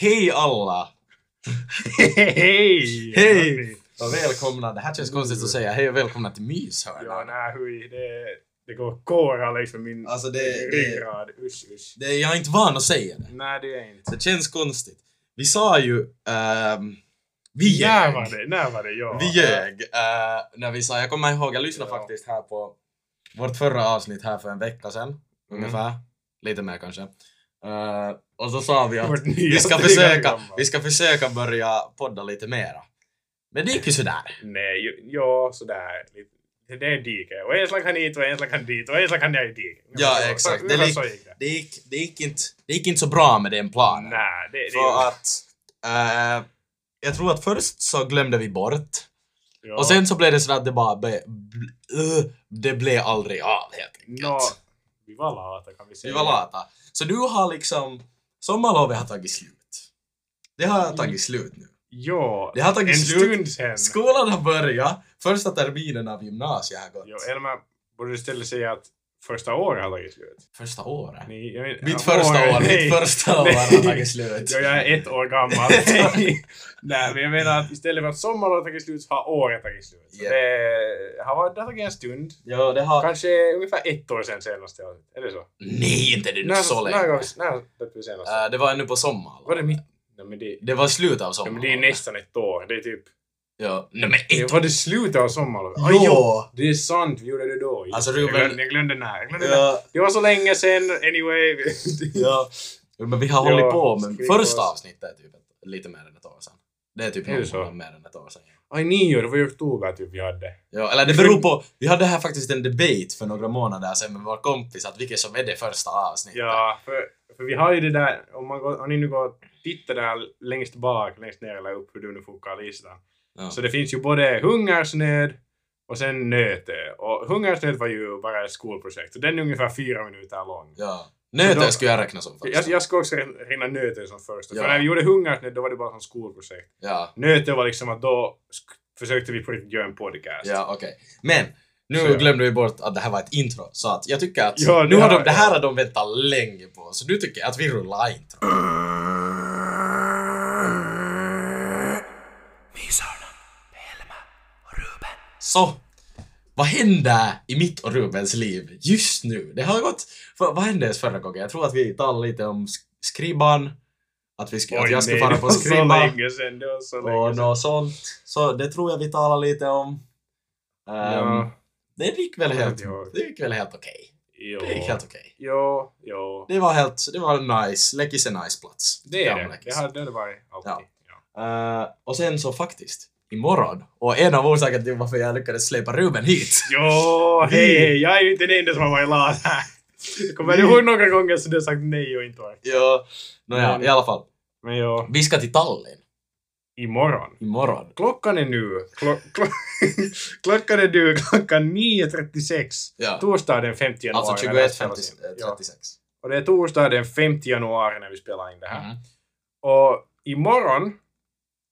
Hej alla! Hej! Hej! hörni. Och välkomna, det här känns konstigt att säga, hej och välkomna till Mm. Ja, Myshörnan. nej, hui, det, det går kårar liksom min Alltså, det- ryggrad. Usch, usch. Det, jag är inte van att säga det. Nej, det är inte. Det känns konstigt. Vi sa ju, ehm, vi När ljög. var det? När var det jag? Vi ljög. eh, när vi sa, jag kommer ihåg, jag lyssnade Ja. faktiskt här på vårt förra avsnitt här för en vecka sedan. Mm. Ungefär. Lite mer kanske. Eh, och så sa vi att Vårt nya vi ska, tre försöka, år gamla. vi ska försöka börja podda lite mera. Men det gick ju sådär. Nej, ju- ja, sådär. lite. Det det är diket. Och en slag han hit och en slag han dit och en slag han ner i diket. Ja, Så- exakt. Så, Det det lik- så gick det. Det gick, det gick, inte, det gick inte så bra med den planen. Nej, det, det För att eh, jag tror att först så glömde vi bort ja. och sen så blev det så att det bara be, bl, uh, det blev aldrig av helt enkelt. Nå, vi var lata kan vi Vi säga. var lata. Så du har liksom, sommarlovet har tagit slut. Det har tagit slut nu. Ja, Det har tagit Mm. en slut. stund sen. Skolan har börjat, första terminen av gymnasiet har Jo, gått. Elma, borde du istället säga att första året har tagit slut? Första året. Ni, jag vet, Mitt första år, nej. mitt första år har tagit slut. Ja, jag är ett år gammal. Nej, men jag menar att istället för att sommaren har tagit slut så har året tagit slut. Så Japp. Det har varit, det har tagit en stund. Ja, det har... Kanske ungefär ett år sedan senast. jag- Är det så? Nej, inte det nu så länge. När gång- när släppte vi senast? Eh, det var ännu på Var det sommaren. mitt? Nej, men det, Det var slut av ja, sommaren. men det är ju nästan ett år. Det är typ... Ja, nej men ett Det var det slutet av sommarlovet? Ah, Jo! Det är sant, vi gjorde det då. Alltså, jag, Ruben- glömde, jag glömde när. Jag glömde när. Ja, Det var så länge sen, anyway. ja. Men vi har hållit Ja, på med skriv första oss. avsnittet är typ ett, lite mer än ett år sedan. Det är typ Är det så? någon månad mer än ett år sedan. ja. Aj, nio, det var i oktober typ vi hade. Ja, eller det beror på, vi hade här faktiskt en debate för några månader sedan med vår kompis att vilket som är det första avsnittet. Ja, för, för vi har ju det där, om, man går, om ni nu går och tittar där längst bak, längst ner eller upp, hur du nu fokar listan. Ja. Så det finns ju både hungersnöd och sen nöte. Och hungersnöd var ju bara ett skolprojekt, så den är ungefär fyra minuter lång. ja. Så då- Nöten skulle jag räkna som första. Jag, jag ska också rinna nöte som första, Ja. för när vi gjorde hungersnöd då var det bara som skolprojekt. Ja, Nöte var liksom att då sk- försökte vi på riktigt göra en podcast. ja okej. Men, nu Så ja. glömde vi bort att det här var ett intro, så att jag tycker att Ja, det nu har här- de, det här har de väntat länge på, så nu tycker jag att vi rullar intro. Så, vad händer i mitt och Rubens liv just nu? Det har gått... Vad, vad hände ens förra gången? Jag tror att vi talade lite om sk- skriban, att, vi sk- att jag skulle fara det på var så skriban länge sen, det var så länge och sen. något sånt. Så det tror jag vi talade lite om. Ehm, Ja, Det gick väl Jag helt, kommer inte ihåg. det gick väl helt okej. jo, Det gick helt okej. jo, jo. Det var helt, det var en nice, Läckis är en nice plats. Det är Gamla det. Läckis. Det hade det varit alltid. Ja. Ja. Eh, och sen så faktiskt, imorgon, och en av orsakerna till varför jag lyckades släpa Ruben hit. Jo, hej, hej, jag är ju inte den enda som har varit lat här. Kommer du Mm. ihåg några gånger som du har sagt nej och inte varit? ja, nåja, Men- i alla fall. Men ja, Vi ska till Tallinn imorgon. imorgon. Klockan är nu, klo, klo, klockan är nu klockan 9.36. Ja, Torsdag den 5 januari. alltså när det här spelas in. 21.56. Ja. Och det är torsdag den 5 januari när vi spelar in det här. Mhm. Och imorgon,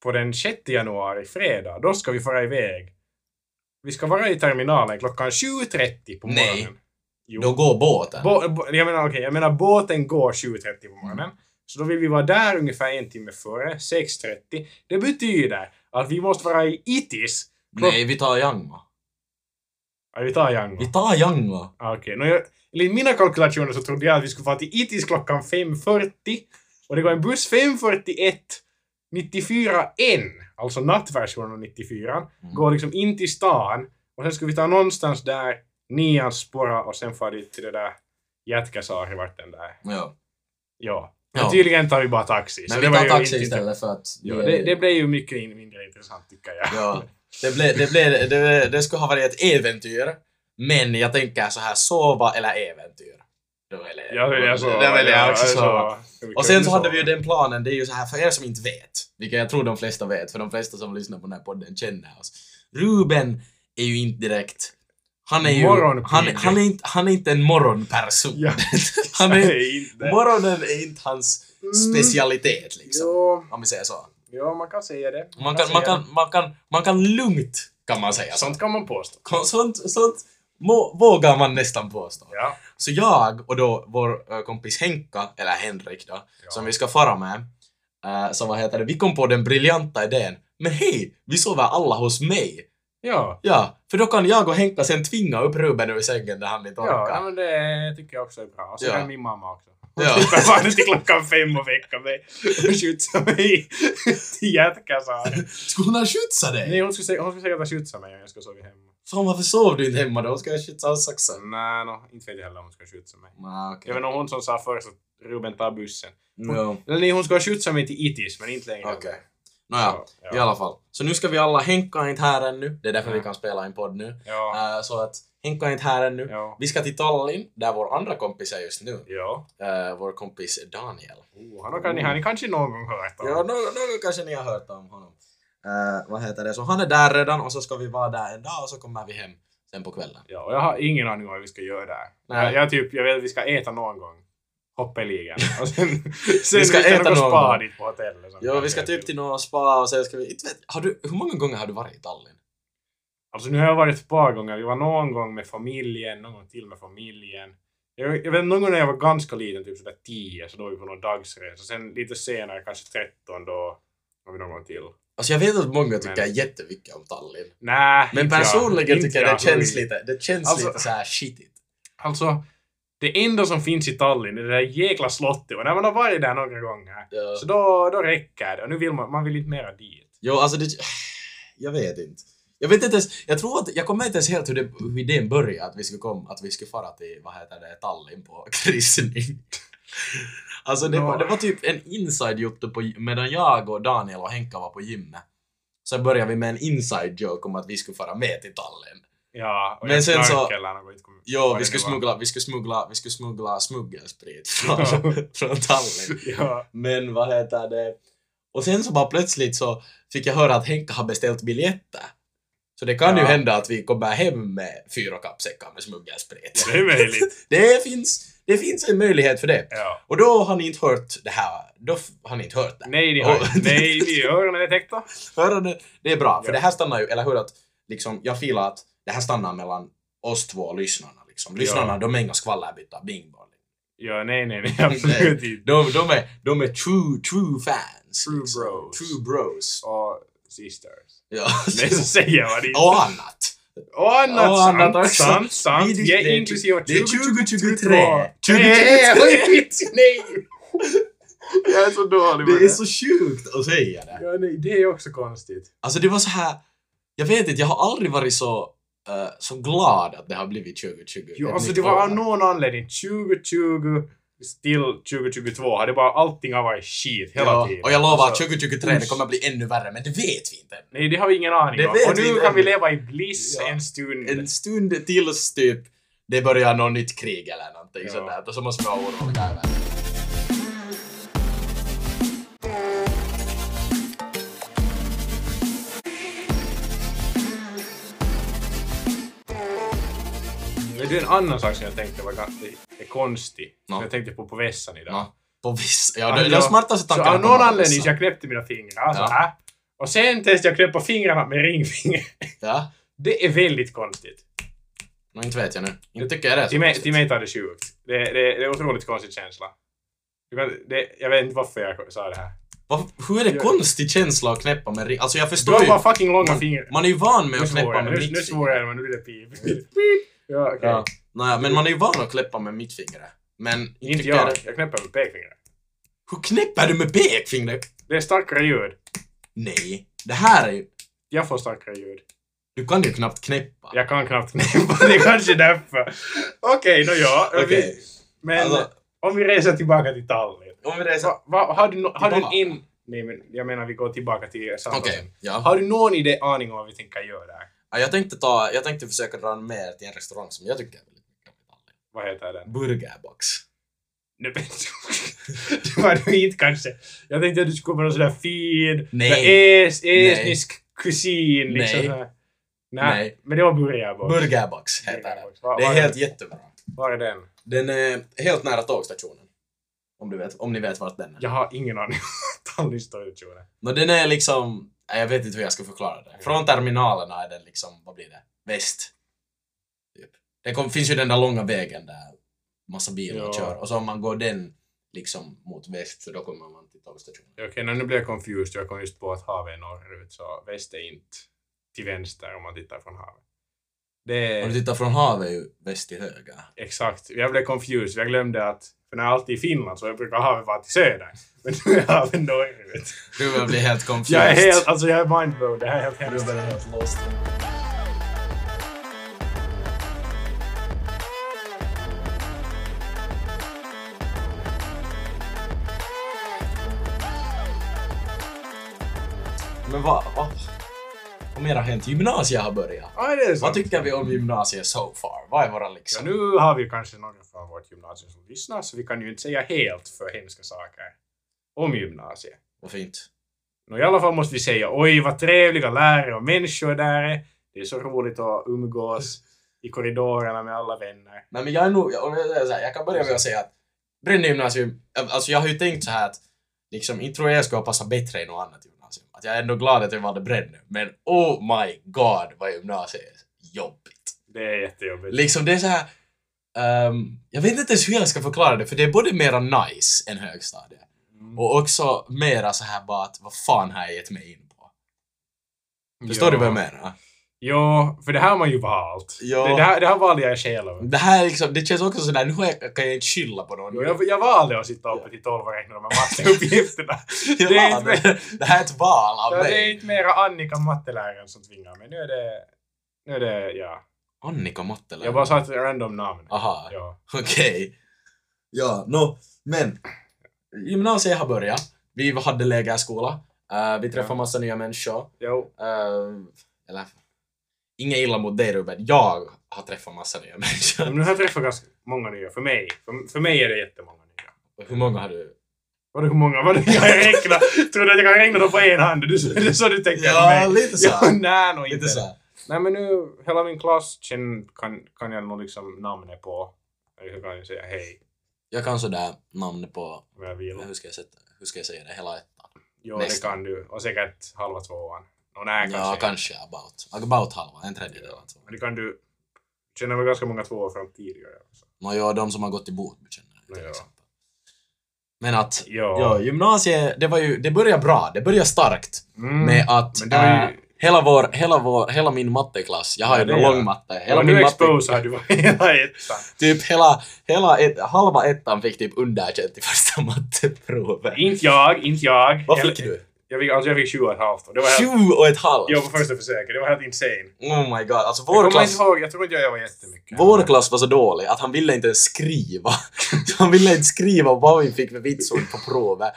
på den 6 januari, fredag, då ska vi fara iväg. Vi ska vara i terminalen klockan 7.30 på Nej. morgonen. Jo. Då går båten. Bå, bå, jag, menar, okej, jag menar båten går 7.30 på morgonen. Mm. Så då vill vi vara där ungefär en timme före, 6.30. Det betyder att vi måste vara i Itis. Nej, vi tar Jangma. Ja, vi tar Yangon. Vi tar Jangma. Ah, Okej, okay. enligt mina kalkylationer så trodde jag att vi skulle fara till Itis klockan 5.40 och det går en buss 5.41, 94 N, alltså nattversionen av 94, Mm. går liksom in till stan och sen ska vi ta någonstans där nians spåra och sen fara dit till det där Jätkäsaari vart den där. Ja. Ja. Men Ja. tydligen tar vi bara taxi. så Men det vi var tar ju taxi inte- istället för att... Ja, vi- det, det blev ju mycket in- mindre intressant tycker jag. Ja. Det, blev, det, blev, det, det, det skulle ha varit ett äventyr, men jag tänker så här sova eller äventyr. Då väljer Jag vill jag sova. Då väljer jag också sova. sova. Och sen så hade vi ju den planen, det är ju så här för er som inte vet, vilket jag tror de flesta vet, för de flesta som lyssnar på den här podden känner oss. Ruben är ju inte direkt... Han är ju... Morgonpigg. Han, han, är inte, han är inte en morgonperson. Ja, han är, inte. morgonen är inte hans Mm. specialitet liksom. Jo, Om vi säger så. jo, man kan säga det. Man kan, man säga kan, man kan, man kan lugnt kan man det. säga. Sånt, Sånt kan man påstå. sånt, sånt må, vågar man nästan påstå. Ja. Så jag och då vår eh, kompis Henka, eller Henrik då, Ja. som vi ska fara med, Äh, så vad heter det, vi kom på den briljanta idén. Men hej, vi sover alla hos mig. Ja. Ja, för då kan jag och Henka sen tvinga upp Ruben ur sängen när han inte Ja, nej, orkar. men det tycker jag också är bra. Och så Ja. är min mamma också. Hon Ja. slipper vara till klockan fem och väcka mig och skjutsa mig till hjärtkassaren. Skulle hon ha skjutsat dig? Nej, hon skulle, sä- hon skulle säkert skjutsa mig om jag skulle sova hemma. Fan varför sov du inte hemma då? Ska jag skjutsa av saxen? Nej, no, inte vet jag heller om hon skulle skjutsa mig. Nej, Det okej. var nog hon som sa först att Ruben tar bussen. No. Eller nej, hon ska skjutsa mig till ITIS, men inte längre. Okej. Nåja, i Ja. alla fall. Så nu ska vi alla, Henka är inte här ännu. Det är därför vi Nej. kan spela en podd nu. Ja. Äh, så att Henka är inte här ännu. Ja. Vi ska till Tallinn, där vår andra kompis är just nu. Ja. Äh, vår kompis Daniel. Oh, han har ni, har ni kanske någon gång hört om. Ja, någon, någon kanske ni har hört om honom. Äh, vad heter det? Så han är där redan och så ska vi vara där en dag och så kommer vi hem sen på kvällen. Ja, och jag har ingen aning om vad vi ska göra där. Nej. Jag, jag, typ, jag vet att vi ska äta någon gång. Hoppeligen. Och sen, sen Vi ska äta något någon spa gång. dit på hotellet. som Ja, vi ska typ till någon spa och sen ska vi... Inte vet, har du, hur många gånger har du varit i Tallinn? Alltså nu har jag varit ett par gånger. Vi var någon gång med familjen, någon gång till med familjen. Jag, jag vet någon gång när jag var ganska liten, typ sådär 10, så då var vi på någon dagsresa. Sen lite senare, kanske 13, då var vi någon gång till. Alltså jag vet att många tycker Men- jättemycket om Tallinn. Nej, Men inte jag. personligen Inte tycker jag jag. det känns lite, det känns Alltså- lite så här shitigt. Alltså, det enda som finns i Tallinn är det där jäkla slottet och när man har varit där några gånger Ja. så då, då räcker det och nu vill man, man vill inte mera dit. Jo, alltså det... Jag vet inte. Jag vet inte ens, jag tror att, jag kommer inte ens helt hur, det, hur idén började att vi skulle komma, att vi skulle fara till, vad heter det, Tallinn på kryssning. alltså det, var, Nå. det var typ en inside joke på, medan jag och Daniel och Henka var på gymmet. Så började vi med en inside joke om att vi skulle fara med till Tallinn. Ja, och Men jag sen så- knarkar eller något, inte kommer- Jo, vad vi det skulle nu var. smuggla, vi skulle smuggla, vi skulle smuggla smuggelsprit från, Ja. från Tallinn. ja, Men vad heter det? Och sen så bara plötsligt så fick jag höra att Henka har beställt biljetter. Så det kan Ja. ju hända att vi kommer hem med fyra kappsäckar med smuggelsprit. det är möjligt. Det finns, det finns en möjlighet för det. Ja. Och då har ni inte hört det här. Då f- har ni inte hört det. Nej, det har Och- Nej, det är öronen är täckta. Hör ni? Det är bra, för Ja. det här stannar ju, eller hur att liksom, jag filar att det här stannar mellan oss två och lyssnarna liksom. Lyssnarna, Ja. de är inga skvallerbyttar, bing bong. Ja, nej, nej, nej, absolut inte. De, de, är, de är true, true fans. liksom. True bros. True bros. Och sisters. Ja. Nej, så säger man inte. och annat. Och och annat annat sant, också. sant, sant. Vi- Ja, det är- typ- inklusive Det är 20 2023. 2023! Nej! Nej! Jag är så dålig Det är så sjukt att säga det. Ja, nej, det är också konstigt. Alltså det var så här. Jag vet inte, jag har aldrig varit så, eh, så glad att det har blivit 2020. Jo, Ett alltså nytt det var år. av någon anledning 2020 till 2022 hade bara allting har varit skit hela ja, tiden. Och jag lovar att Alltså, 2023 det kommer att bli ännu värre, men det vet vi inte än. Nej, det har vi ingen aning Det om. vet Och vi nu inte kan vi ännu. leva i bliss Ja. en stund. En stund tills typ det börjar något nytt krig eller någonting Ja. sånt där. Och så måste vi vara oroliga över. Men det är en annan sak som jag tänkte var ganska är konstig. Nå. Som jag tänkte på på vässan idag. Nå, På vissa... Ja, Alltså, det, den smartaste Så tanken av att de någon har anledning vissa. så jag knäppte mina fingrar Ja. så här. Och sen testade jag knäppa fingrarna med ringfingret. Ja. Det är väldigt konstigt. No inte vet jag nu. Inte tycker jag det är så Till mig, konstigt. till mig tar det sjukt. Det, det, det är otroligt konstig känsla. Du kan, det, jag vet inte varför jag sa det här. Va, hur är det Ja. konstig känsla att knäppa med ring? Alltså jag Du förstår har ju. bara fucking långa fingrar. Man är ju van med Nu att svor knäppa jag. med Nu- mitt Nu svor finger. jag, men nu blir det pip. Ja, okej. Ja. Nåja, men man är ju van att knäppa med mitt finger. Men inte Inte tycker jag. jag. det. Jag knäpper med pekfingret. Hur knäpper du med pekfingret? Det är starkare ljud. Nej. Det här är ju... Jag får starkare ljud. Du kan ju knappt knäppa. Jag kan knappt knäppa, det är kanske därför. Okej, nå ja. Okej. Vi- Men Alltså- om vi reser tillbaka till Tallinn. Om vi reser... Va, va, har du, nå- har du en Tillbaka. in... Nej, men jag menar vi går tillbaka till Okej. samtalen. Ja. Har du någon idé, aning om vad vi tänker göra där? Ja, Jag tänkte ta... Jag tänkte försöka dra med till en restaurang som jag tycker är väldigt mycket om. Vad heter den? Burgerbox. Nej, men- det var nog inte kanske. Jag tänkte att du skulle komma någon sån där fin, Nej. sån där es, Nej. estnisk kusin liksom. Nej. så här. Nej. Nej. Men det var burgarbox. Burgerbox heter det. Var, Det var är helt den- jättebra. Var är den? Den är helt nära tågstationen. Om, du vet, om ni vet vart den är. Jag har ingen aning. Tallinns torgkjolar. No, den är liksom... nej, Jag vet inte hur jag ska förklara det. Från terminalerna är den liksom, vad blir det? Väst. Typ. Det kom, finns ju den där långa vägen där massa bilar Ja. kör. Och så om man går den liksom mot väst så då kommer man till tågstationen. Okej, okay, nu blev jag confused. Jag kom just på att havet är norrut, så väst är inte till vänster om man tittar från havet. Det Om är du tittar från havet är ju väst till höger. exakt. Jag blev confused. Jag glömde att, för när jag alltid är i Finland så brukar havet vara till söder. Men nu är havet norrut. Du börjar bli helt confused. Jag är helt, alltså jag är mindblown. Det här är helt Du hemskt. börjar helt lost. Men vad, vad, vad mer har hänt? Gymnasiet har börjat. Ja, det är Vad sant. tycker vi om gymnasiet so far? Vad är våra Ja, liksom? nu har vi kanske några från vårt gymnasium som lyssnar, så vi kan ju inte säga helt för hemska saker om gymnasiet. Vad fint. Nå i alla fall måste vi säga oj vad trevliga lärare och människor där är. Det är så roligt att umgås i korridorerna med alla vänner. Nej men jag är nog, jag, om jag, säger så här, jag kan börja med att säga att Brynne gymnasium, alltså jag har ju tänkt så här att liksom inte tror jag jag skulle ha passat bättre i något annat gymnasium. Att jag är ändå glad att jag valde Bränne, men oh my god vad gymnasiet är jobbigt. Det är jättejobbigt. Liksom det är så här, ehm, jag vet inte ens hur jag ska förklara det för det är både mera nice än högstadiet Mm. och också mera så här bara att vad fan har jag gett mig in på? Förstår Ja. du vad jag menar? Ja, för det här har man ju valt. Ja. Det, det, här, det här valde jag själv. Det här är liksom, det känns också sådär, nu har jag, kan jag inte skylla på någon. Jo, Jag, jag valde att sitta uppe till tolv och räkna de här matteuppgifterna. Jag det är la inte det. Det här är ett val av Ja, det är mig. inte mera Annika matteläraren som tvingar mig. Nu är det... Nu är det... Ja. Annika Mattelä. Jag bara sa ett random namn. Aha, Ja. okej. Ja, nå, men. Gymnasiet har börjat. Vi hade lägerskola. Eh, vi träffade Ja. massa nya människor. Jo. Eh, eller, inget illa mot dig Ruben. Jag har träffat massa nya människor. Men nu har jag träffat ganska många nya. För mig. För, för mig är det jättemånga nya. Hur många har du? Vadå hur många? Vadå jag kan räkna? Tror du att jag kan räkna dem på en hand? Du, det är så du tänker på mig? lite Ja, nej, nog Lite inte. så. här. Nej men nu, hela min klass känn, kan, kan jag nog liksom namnet på. Eller hur kan jag säga hej? Jag kan sådär namn på, Om jag vill. hur ska jag, sätta, hur ska jag säga det, hela ettan? Jo, det Nästa. kan du. Och säkert halva tvåan. Nå nej, kanske. Ja, kanske about. About halva, en tredjedel. eller två. Men det kan du... Känner väl ganska många tvåor från tidigare alltså. också. Nåja, de som har gått i Bodby känner jag till Ja. exempel. Men att, Ja. ja, gymnasiet, det var ju, det började bra, det började starkt Mm. med att Men det var äh, ju... hela vår, hela vår, hela min matteklass, jag har ju Ja, en det är- lång matte, Hela hela nu min matte, exposar du vad hela ettan. typ hela, hela ett, halva ettan fick typ underkänt i första matteprovet. Inte jag, inte jag. Vad Eller- fick du? Jag fick, alltså jag fick 7 och ett halvt. och Det var helt, Sju och ett halvt! jag på första försöket. Det var helt insane. Oh my god, alltså Jag vår kommer inte klass, ihåg, jag tror inte jag övade jättemycket. vår klass var så dålig att han ville inte ens skriva. han ville inte skriva vad vi fick för vitsord på provet.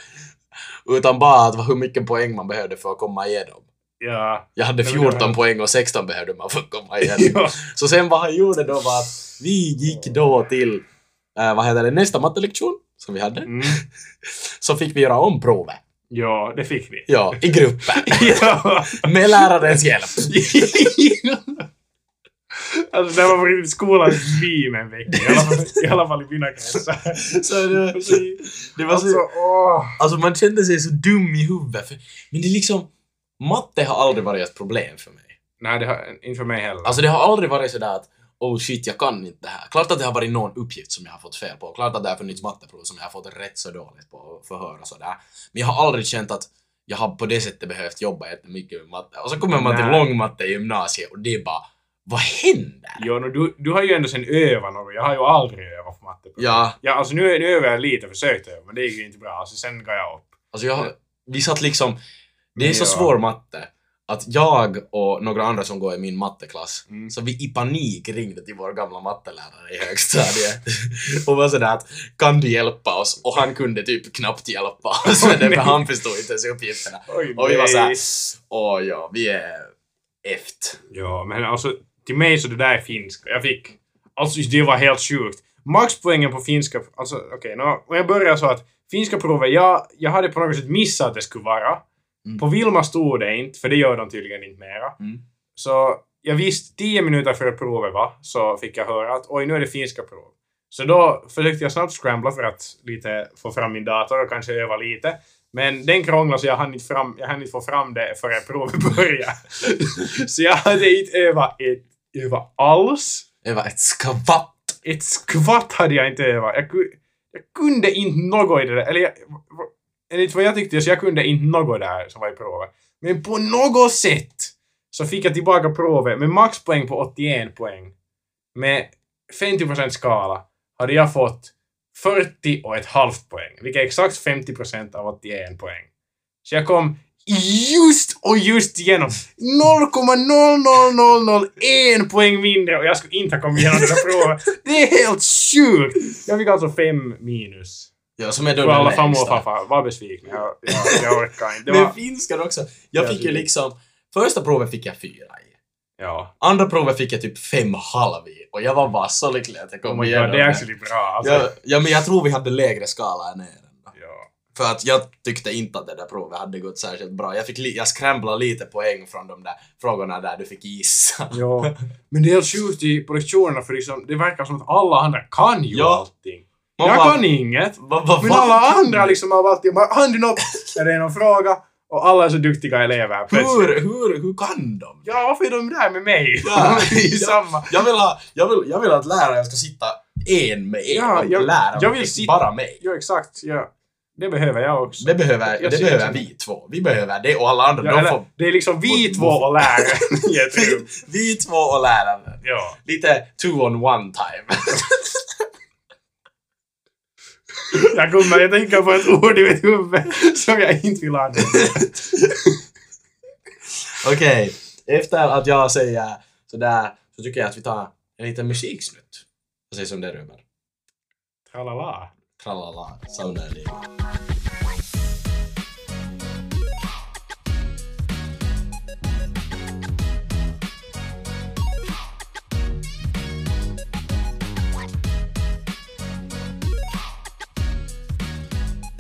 Utan bara att hur mycket poäng man behövde för att komma igenom. Ja. Jag hade Nej, men det var 14 hemskt. poäng och 16 behövde man för att komma igenom. ja. Så sen vad han gjorde då var att vi gick då till, eh, vad heter det, nästa mattelektion som vi hade. Mm. Så fick vi göra om provet. ja, det fick vi. Ja, i gruppen. ja. Med lärarens hjälp. Alltså det var på riktigt skolans meme en vecka. I alla fall- I alla fall i mina kretsar. Så det, det var så... Alltså, åh. Alltså man kände sig så dum i huvudet. För, men det är liksom... Matte har aldrig varit ett problem för mig. Nej, det har inte för mig heller. Alltså det har aldrig varit sådär att oh shit, jag kan inte det här. Klart att det har varit någon uppgift som jag har fått fel på. Klart att det har funnits matteprov som jag har fått rätt så dåligt på och förhör och sådär. Men jag har aldrig känt att jag har på det sättet behövt jobba jättemycket med matte. Och så kommer man till Nej. långmatte i gymnasiet och det är bara vad händer? Jo, no, du, du har ju ändå sen övat något. Jag har ju aldrig övat på matte. Ja, Ja, alltså nu, nu övar jag lite, försökte öva, men det gick ju inte bra. Alltså sen går jag upp. Alltså jag, vi satt liksom, det är så Ja. svår matte att jag och några andra som går i min matteklass, Mm. så vi i panik ringde till vår gamla mattelärare i högstadiet och var sådär att kan du hjälpa oss? Och han kunde typ knappt hjälpa oss, Åh, nej. för han förstod inte ens uppgifterna. Oj, Och vi var såhär, nej. åh ja, vi är eft. Ja, men alltså till mig så det där är finska. Jag fick... Alltså det var helt sjukt. Maxpoängen på finska... Alltså okej, nå, om jag börjar så att finska provet, jag, jag hade på något sätt missat att det skulle vara. Mm. På Vilma stod det inte, för det gör de tydligen inte mera. Mm. Så jag visste tio minuter före provet va, så fick jag höra att oj, nu är det finska prov. Så då försökte jag snabbt scrambla för att lite få fram min dator och kanske öva lite. Men den krånglade så jag hann inte, fram, jag hann inte få fram det förrän provet började. så jag hade inte övat ett, övat alls. Det var ett skvatt. Ett skvatt hade jag inte övat. Jag, ku- jag kunde inte något i det där. Eller jag, enligt vad jag tyckte så jag kunde inte något där som var i provet. Men på något sätt så fick jag tillbaka provet med maxpoäng på 81 poäng. Med 50% skala hade jag fått 40 och ett halvt poäng, vilket är exakt 50% av 81 poäng. Så jag kom just och just igenom 0,00001 poäng mindre och jag skulle inte ha kommit igenom det där provet. Det är helt sjukt! Jag fick alltså fem minus. Ja, som är då För alla den farmor och längsta. farfar var besvikna. Jag, jag, jag orkar inte. Det Men var, finskan också. Jag Ja, fick ju det- liksom... Första provet fick jag fyra i. ja. Andra provet fick jag typ fem halv i. Och jag var bara så lycklig att jag kom ja, igenom Oh det är actually bra. Alltså, ja, ja, men jag tror vi hade lägre skala än er. ändå. ja. För att jag tyckte inte att det där provet hade gått särskilt bra. Jag, fick li- jag scramblade lite poäng från de där frågorna där du fick gissa. Ja. Men det är helt sjukt i produktionerna för liksom, det verkar som att alla andra kan ju Ja. allting. Man jag bara, kan inget. "Va- va- Men vad alla kan andra du?" liksom har alltid bara handen upp när det är någon fråga och alla är så duktiga elever plötsligt. Hur, hur, hur kan de? Ja, varför är de där med mig? Ja. Det är ju samma. Jag vill, ha, jag, vill, jag vill att läraren ska sitta en med en Ja, och jag- lära jag mig vill sitta- bara mig. Ja, exakt. Ja. Det behöver jag också. Det behöver, Jag det ser behöver det. vi två. Vi behöver det och alla andra. ja, de eller, får, det är liksom vi två och läraren i ett rum. vi två och läraren. Ja. Lite two-on-one time. Jag kommer att tänka på ett ord i mitt huvud som jag inte vill använda. Okej, efter att jag säger sådär så tycker jag att vi tar en liten musiksnutt. Vad sägs om det Ruben? Tralala. Tralala, saunarliv.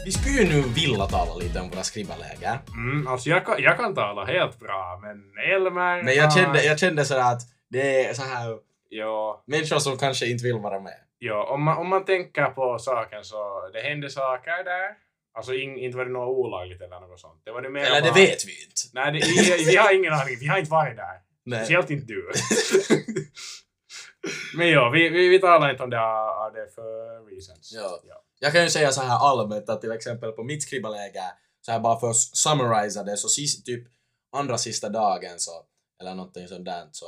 Vi skulle ju nu vilja tala lite om våra skrivarläger. Mm, alltså jag kan, jag kan tala helt bra, men Elmer... ah, Men jag kände, jag kände sådär att det är så här Ja, människor som kanske inte vill vara med. ja om, man, om man tänker på saken så det hände saker där. Alltså in, inte var det något olagligt eller något sånt. Det var det mer Eller det bara- vet vi inte. Nej, det, vi, vi har ingen aning. Vi har inte varit där. Nej. Speciellt inte du. men ja, vi, vi, vi talar inte om det av det för reasons. Ja. ja. Jag kan ju säga så här allmänt att till exempel på mitt skribbaläger, så här bara för att summarisa det, så sist, typ andra sista dagen så, eller någonting sånt där, så,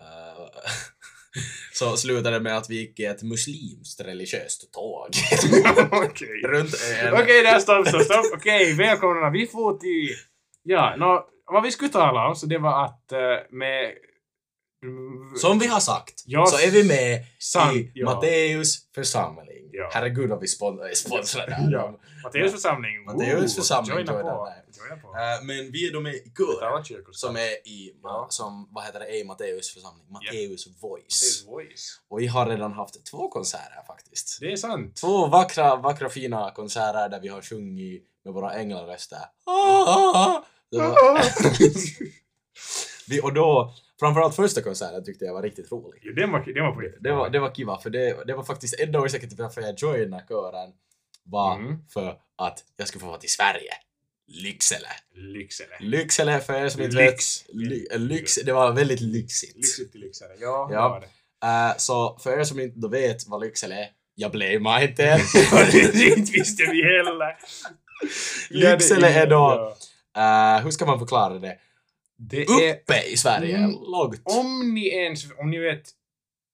eh, så slutade det med att vi gick i ett muslimskt religiöst tåg Okej. runt ön. Okej, där stopp, stopp, stopp. Okej, välkomna. Vi får till... Ja, nå, vad vi skulle tala om så det var att eh, med... Som vi har sagt, Ja, så är vi med sant, i ja. Matteus församling. Ja. Herregud vad vi spon- är sponsrade av Ja. dem. Matteus församling. Matteus Ooh, församling, Joina joina på. där. Joina på. Eh, men vi är då med i Det kör. var kyrkos. Som är i, Ja. som, vad heter det, ej Matteus församling, Matteus Voice. Matteus voice. Och vi har redan haft två konserter faktiskt. Det är sant. Två vackra, vackra fina konserter där vi har sjungit med våra änglaröster. Ah, ah, ah. Det var- Vi, och då, framförallt första konserten tyckte jag var riktigt rolig. Jo, den var, den var på riktigt. Det var, det var kiva, för det, det var faktiskt enda orsaken till varför jag joinade kören var Mm. för att jag skulle få vara till Sverige. Lycksele. Lycksele. Lycksele för er som inte vet. Lyx. Ly, lyx, det var väldigt lyxigt. Lyxigt till Lycksele. Ja, Ja. det var det. Eh, så för er som inte då vet vad Lycksele är, jag blamear inte er. det inte visste vi heller. Lycksele är då- Ja. Eh, hur ska man förklara det? Det är... Uppe i Sverige, Mm. lågt. Om ni ens... Om ni vet...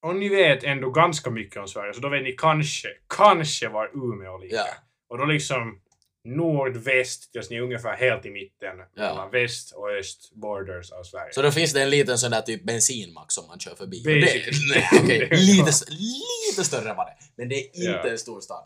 Om ni vet ändå ganska mycket om Sverige så då vet ni kanske, kanske var Umeå ligger. Ja. Och då liksom nordväst tills ni är ungefär helt i mitten mellan väst och öst borders av Sverige. Så då finns det en liten sån där typ bensinmack som man kör förbi. Och Det, Basically. nej, okej, Det är lite, bra. s- lite större var det, men det är inte Ja. en stor stad.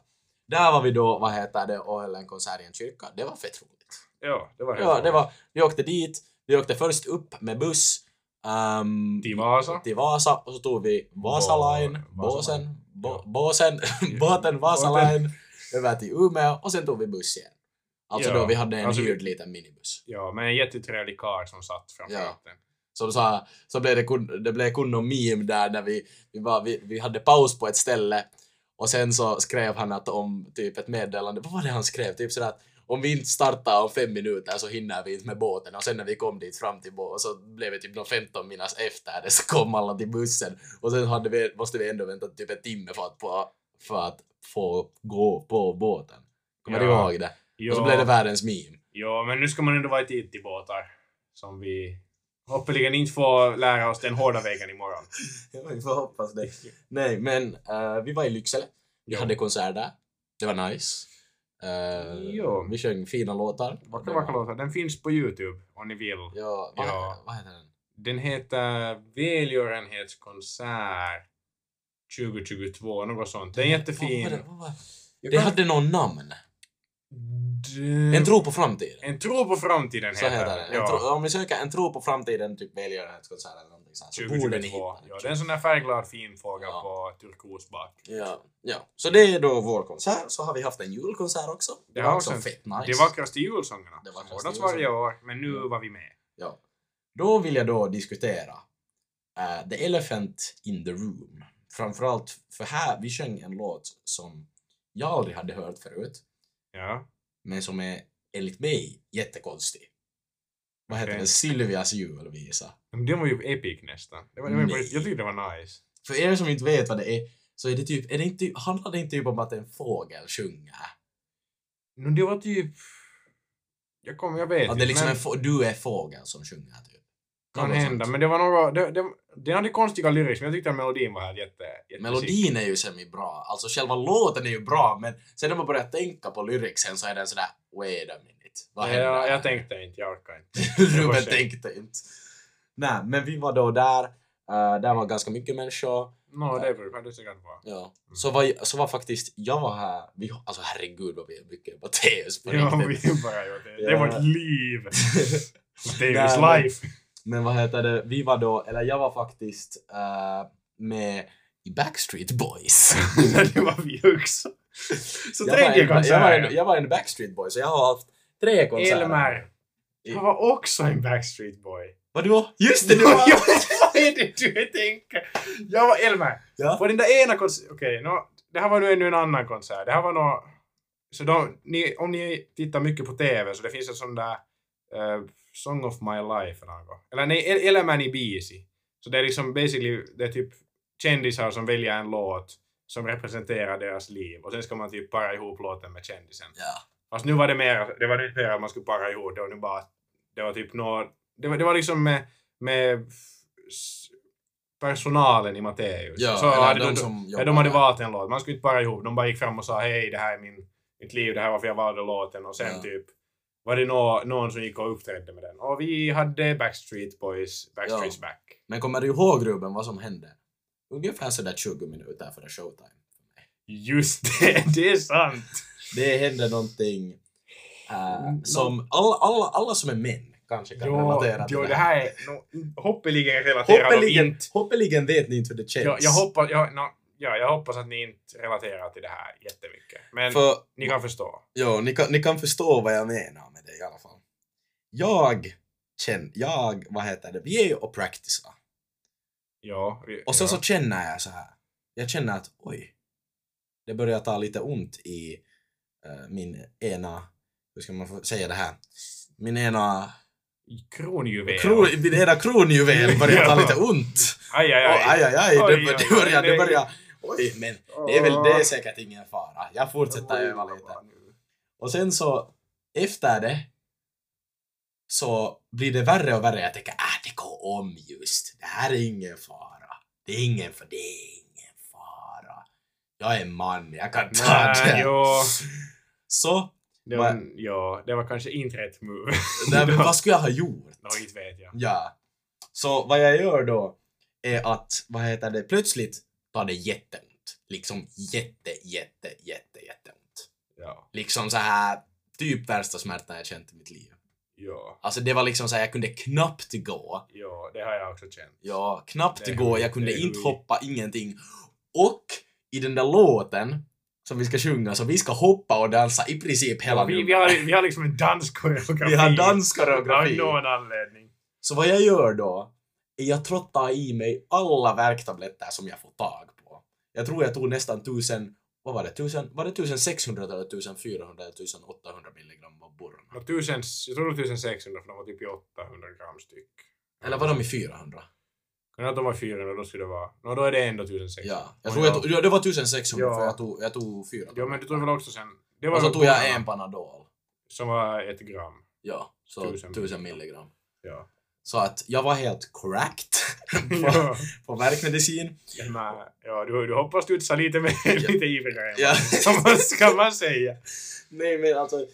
Där var vi då, vad heter det, och höll en konsert i en kyrka. Det var fett roligt. ja, det var helt Ja, det roligt. var, vi åkte dit, vi åkte först upp med buss. ehm, Till Vasa. till Vasa och så tog vi Vasa Line, Vasa båsen, Ja. bo, båsen, båten Vasa Line över till Umeå och sen tog vi buss igen. Alltså Ja, då vi hade en alltså vi- hyrd liten minibuss. Ja, men en jättetrevlig karl som satt framför Ja. den. Som sa, så blev det, kun, det blev kun någon meme där när vi, vi, var, vi, vi hade paus på ett ställe och sen så skrev han att om typ ett meddelande, vad var det han skrev? Typ sådär att om vi inte startar om fem minuter så hinner vi inte med båten och sen när vi kom dit fram till båten så blev det typ någon 15 minas efter det så kom alla till bussen och sen hade vi, måste vi ändå vänta typ en timme för att, på, för att få gå på båten. Kommer du Ja. ihåg det? Jo, Och så blev det världens meme. jo, men nu ska man ändå vara i tid till båtar. Som vi hoppeligen inte får lära oss den hårda vägen imorgon. Ja, vi får hoppas det. Nej, men eh, vi var i Lycksele. Vi Ja. hade konsert där. Det var nice. Eh, Jo. Vi sjöng fina låtar. Vackra, vackra låtar. Den finns på Youtube om ni vill. Ja, vad, Ja. Heter, vad heter den? Den heter Välgörenhetskonsert 2022, något sånt. Den är Vad jättefin. var det? Vad var det? Jag Det kan- hade någon namn. Den- En tro på framtiden. En tro på framtiden Så heter, heter den. En Ja. tro, om ni söker en tro på framtiden, typ välgörenhetskonsert eller någonting sånt, så borde ni 2022. hitta Ja, det är en sån där färgglad fin fågel Ja. på turkos bak. Ja, ja. Så det är då vår konsert. Så har vi haft en julkonsert också. Det Ja, var och också sen- fett nice. Det vackraste julsångerna. Det Det vackraste ordnas julsångerna. varje år, men nu Ja. var vi med. Ja. Då vill jag då diskutera eh, The Elephant in the Room. Framförallt för här, vi sjöng en låt som jag aldrig hade hört förut, Ja. men som är enligt mig jättekonstig. Vad heter Okej. den? Sylvias julvisa. Men den var ju epic nästan. Det var, det var, Nej. jag tyckte det var nice. För er som inte vet vad det är, så är det typ, är det inte, handlar det inte typ om att en fågel sjunger? No, det var typ... Jag kommer, jag vet Att det är liksom men- en få, du är fågel som sjunger typ. kan Något hända, sånt. men det var några... Det, det, den hade konstiga lyrics, men jag tyckte att melodin var här jätte... jätte Melodin är ju semi-bra, alltså själva låten är ju bra men sen när man börjar tänka på lyricsen så är den sådär wait a minute, vad händer? Ja, här?" jag tänkte inte, jag orkar inte. Ruben Jag bara- tänkte inte. Nej, men vi var då där, eh, där var ganska mycket människor. Nå, det brukar det säkert vara. Ja. Så, var, så var faktiskt, jag var här, vi, alltså herregud vad vi är mycket Matteus på Ja, riktigt. vi bara gjort det. Det Ja. var ett liv! Davis Nej, men- life! Men vad heter det, vi var då, eller jag var faktiskt eh, med i Backstreet Boys. det var vi också. Så Jag var, tredje en, jag, var en, konserten. jag var en Backstreet Boy, så jag har haft tre konserter. Elmer. I- Han var också en Backstreet Boy. Vadå? Just det, du var... Ja, Vad är det du tänker? Jag var Elmer. Ja. På den där ena konserten... Okej, nå, det här var nu ännu en annan konsert. Det här var nå... Så de, ni, om ni tittar mycket på TV så det finns en sån där eh, Song of My Life eller något. Eller nej, El- Elämän i biisi. Så det är liksom basically, det är typ kändisar som väljer en låt som representerar deras liv och sen ska man typ para ihop låten med kändisen. Ja. Fast nu var det mer, det var nu inte mer att man skulle para ihop, det var nu bara, det var typ några, det var, det var liksom med, med s- personalen i Matteus. Ja, så eller hade de de, som ja, jobbar de hade där. valt en låt, man skulle inte para ihop, de bara gick fram och sa hej, det här är min, mitt liv, det här är varför jag valde låten och sen Ja. typ var det nå någon som gick och uppträdde med den. Och vi hade Backstreet Boys, Backstreet's Back. Men kommer du ihåg Ruben vad som hände? Ungefär sådär 20 minuter före showtime. Just det, det är sant! Det hände någonting eh, Mm, som alla, alla, alla som är män kanske kan Jo, relatera till. jo, det det här är, no, hoppeligen relaterar de Hoppeligen, inte hoppeligen vet ni inte hur det känns. Jag, jag, hoppas, jag, nå, ja, jag hoppas att ni inte relaterar till det här jättemycket. Men För, ni kan förstå. jo, ni, kan, ni kan förstå vad jag menar med det i alla fall. Jag känner, jag, vad heter det, vi är ju och practicear. Ja, vi, Och sen ja. så känner jag så här. Jag känner att oj, det börjar ta lite ont i eh, min ena, hur ska man få säga det här? Min ena, Kronjuvel. kro, min ena kronjuvel börjar ta lite ont. Aj, aj, Och, aj. aj, aj, aj, det, Oj, oj, det oj, börjar, det nej. börjar. Oj, men det är väl det är säkert ingen fara. Jag fortsätter öva lite. Och sen så, efter det, så blir det värre och värre. Jag tänker, äh, det går om just. Det här är ingen fara. Det är ingen fara. Det är ingen fara. Jag är man, jag kan ta Nej, det. jo. Så, Det var, ja, det var kanske inte rätt move. nej, men vad skulle jag ha gjort? Nå, inte vet jag. Ja. Så vad jag gör då är att, vad heter det, plötsligt tar det jätteont. Liksom jätte, jätte, jätte, jätteont. Ja. Liksom så här typ värsta smärtan jag känt i mitt liv. Ja. Alltså det var liksom så här, jag kunde knappt gå. Ja, det har jag också känt. Ja, knappt Det är gå, hur- jag kunde det är inte hur- hoppa, ingenting. Och i den där låten som vi ska sjunga, så vi ska hoppa och dansa i princip hela vi, vi, numret. har, vi har liksom en danskoreografi. vi har danskoreografi. Av någon anledning. Så vad jag gör då, är jag trottar i mig alla värktabletter som jag får tag på. Jag tror jag tog nästan tusen, vad var det, tusen, var det 1600 eller 1400 eller 1800 milligram av burren? Nå, tusen, jag tror det var 1600 för de var typ i 800 gram styck. Eller var de i 400? Kan det att de var 400 då skulle det vara... Nå, då är det ändå 1600. Ja. Jag tror jag tog, ja, det var 1600 Ja. för jag tog, jag tog fyra. Jo, men du tog väl också sen... Det Och så väl tog jag bollarna en Panadol. Som var ett gram. Ja, så 1000 1000 milligram. Ja. Så att jag var helt cracked på, ja. på värkmedicin. Men, ja, du, du hoppas du utsade lite, mer- lite ivrigare än Ja. vad- kan, man, kan man säga. Nej men alltså,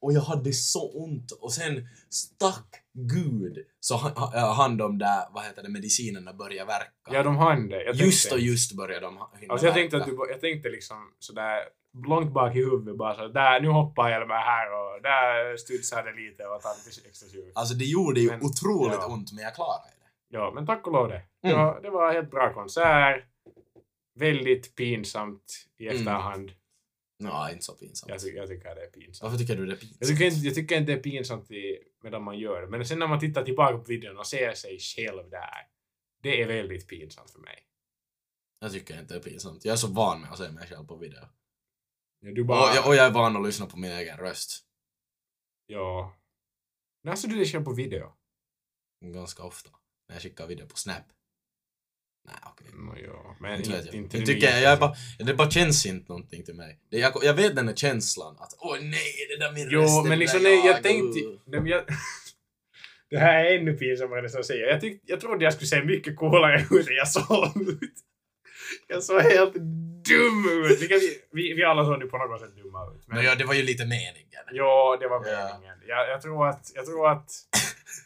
och jag hade så ont och sen stack gud så han, ha- han de där, vad heter det, medicinerna började verka. Ja, de hann det. Jag just tänkte- och just började de ha- hinna Alltså jag verka. tänkte, att du, bara- jag tänkte liksom sådär långt bak i huvudet bara så där nu hoppar jag med här och där studsade det lite och tar lite extra tjur. Alltså det gjorde ju Men, otroligt ja. ont men jag klarade det. Ja, men tack och lov det. Mm. Ja, det var en helt bra konsert. Väldigt pinsamt i Mm. efterhand. Nej, inte så pinsamt. Jag, ty- jag tycker det är pinsamt. Varför tycker du det är pinsamt? Jag tycker, inte, jag tycker inte det är pinsamt i, medan man gör det, men sen när man tittar tillbaka på videon och ser sig själv där, det är väldigt pinsamt för mig. Jag tycker inte det är pinsamt. Jag är så van med att se mig själv på video. Ja, Du bara... Och jag, och jag är van att lyssna på min egen röst. Ja. När såg du dig själv på video? Ganska ofta. När jag skickar video på Snap. Nej, okej. Nå, ja. Men Inte inte, vet jag. Mm, inte, alltså. jag det tycker nya. jag, är bara, det bara känns inte någonting till mig. Det, jag, jag vet den där känslan att åh nej, det där är min röst. Jo, det men där liksom nej, jag uh." tänkte... Nej, men jag, det här är ännu pinsammare än jag säger. Jag, tyck, jag trodde jag skulle se mycket coolare ut än jag såg ut. Jag såg helt dum ut. Vi, kan- vi, vi alla såg nu på något sätt dumma ut. Men ja, det var ju lite meningen. Ja, det var Ja. meningen. Jag, jag tror att, jag tror att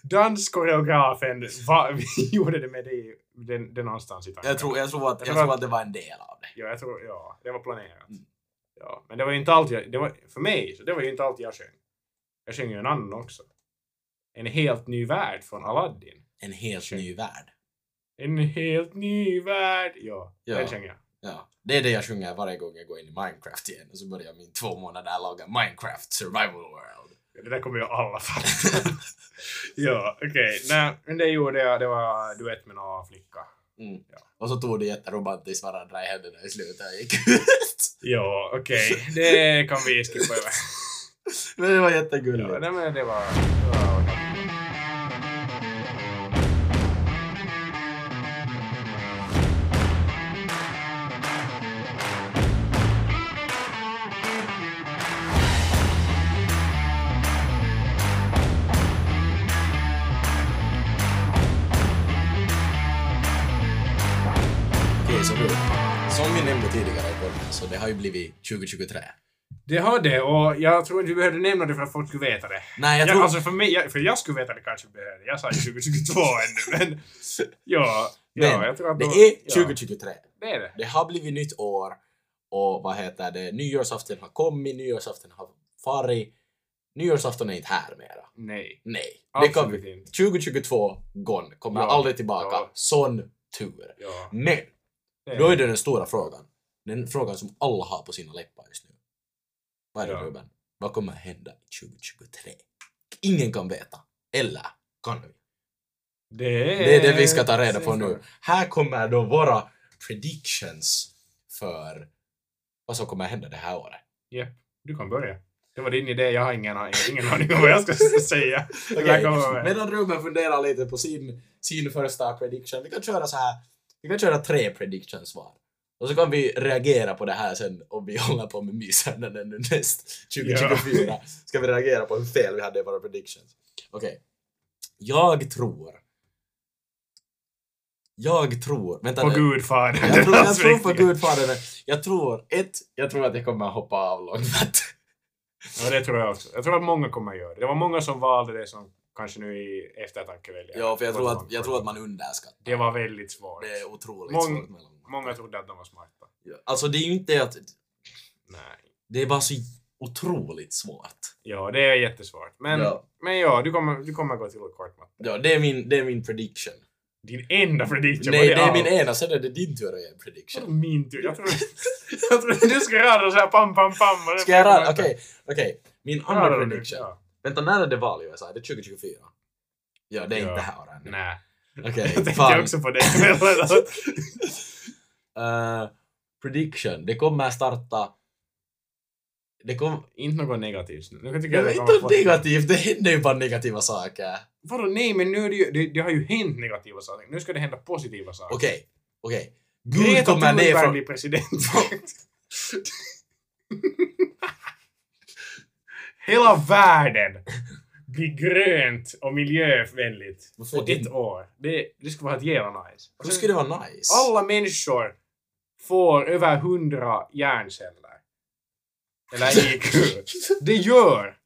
danskoreografen va, vi gjorde det med dig den, den någonstans i tanken. Jag tror, jag, tror att, Jag jag, tror tror att det var en del av det. Ja, jag tror, ja, det var planerat. Mm. Ja, men det var ju inte allt jag, det var, för mig, så det var ju inte allt jag sjöng. Jag sjöng ju en annan också. En helt ny värld från Aladdin. En helt Shit. ny värld. En helt ny värld. Ja, Ja. den sjöng jag. Ja, det är det jag sjunger varje gång jag går in i Minecraft igen och så börjar min två månader långa Minecraft survival world. Ja, Det där kommer ju alla fatta. ja, okej. Nej, men det gjorde jag. Det var duett med några flicka. Mm. Ja. Och så tog det jätteromantiskt varandra i händerna i slutet och gick ut. Ja, okej. Det kan vi skippa över. men det var jättegulligt. Ja, nej, men det var... Det var Okej, så du. Som vi nämnde tidigare i podden så det har ju blivit 2023. det har det och jag tror inte vi behövde nämna det för att folk skulle veta det. Nej, jag Jag tror... Alltså för mig, jag, för jag skulle veta det kanske behövde. Jag sa ju 2022 ännu men... Ja, ja Men jag tror att det då- är Ja, 2023. det är det. Det har blivit nytt år och vad heter det, nyårsafton har kommit, nyårsafton har farit. Nyårsafton är inte här mera. Nej. Nej, det kan Absolut vi. inte. 2022 gone, kommer Ja, aldrig tillbaka. ja. Sån tur. Ja. Men, då är det den stora frågan. Den frågan som alla har på sina läppar just nu. Vad är det Ja. Ruben? Vad kommer hända 2023? Ingen kan veta. Eller kan vi? Eh, Det Det är det vi ska ta reda på nu. Här kommer då våra predictions för vad som kommer hända det här året. Du kan börja. Det var din idé, jag har ingen, aning- ingen aning om vad jag ska säga. Jag kommer med. Medan Ruben funderar lite på sin, sin första prediction, vi kan köra så här. Vi kan köra tre predictions var. Och så kan vi reagera på det här sen om vi håller på med mysändanden nu näst 2024. Ska vi reagera på hur fel vi hade i våra predictions. Okej. Jag tror... Jag tror... Vänta På nu. Gudfadern. Jag tror, jag Hans tror på riktiga. Gudfadern. Jag tror, ett, jag tror att jag kommer hoppa av långsamt. Ja, det tror jag också. Jag tror att många kommer att göra det. Det var många som valde det som kanske nu i eftertanke väljer. Ja, för jag tror, att, Gotland. jag tror att man underskattar. Det var väldigt svårt. Det är otroligt Mång- svårt med långsamt. Många trodde att de var smarta. Alltså det är ju inte att... Nej. Det är bara så otroligt svårt. Ja, det är jättesvårt. Men ja, Ja. men ja du, kommer, du kommer gå till kortmatt. Ja, det är min, det är min prediction. Din enda prediction Mm. Nej, det är allt. Mm, min ena, sen är det din tur att ge en Vadå prediction. Min tur. Jag tror, jag tror du ska rada såhär pam, pam, pam. och det- Ska jag rada? Okej, okej. Min andra Radar du nu? prediction. Ja. Vänta, när är det val i USA? Är det 2024? Ja, det är Ja. inte det här året ännu. Nej. Okej, Jag tänkte fan. också på det Alltså, kvällen. Eh, prediction. Det kommer starta... Det kommer... Inte något negativt. Nu tycker Det jag var det kommer inte få- negativt, det händer ju bara negativa saker. Vadå nej men nu är det ju, det, det har ju hänt negativa saker, nu ska det hända positiva saker. Okej, okej. Gud Greta kommer ner Thunberg från... blir president. Hela världen blir grönt och miljövänligt Varför på är ett det- år. Det, det skulle vara ett jävla nice. Och Hur sen- skulle det vara nice? alla människor får över 100 hjärnceller. Eller IQ. Det gör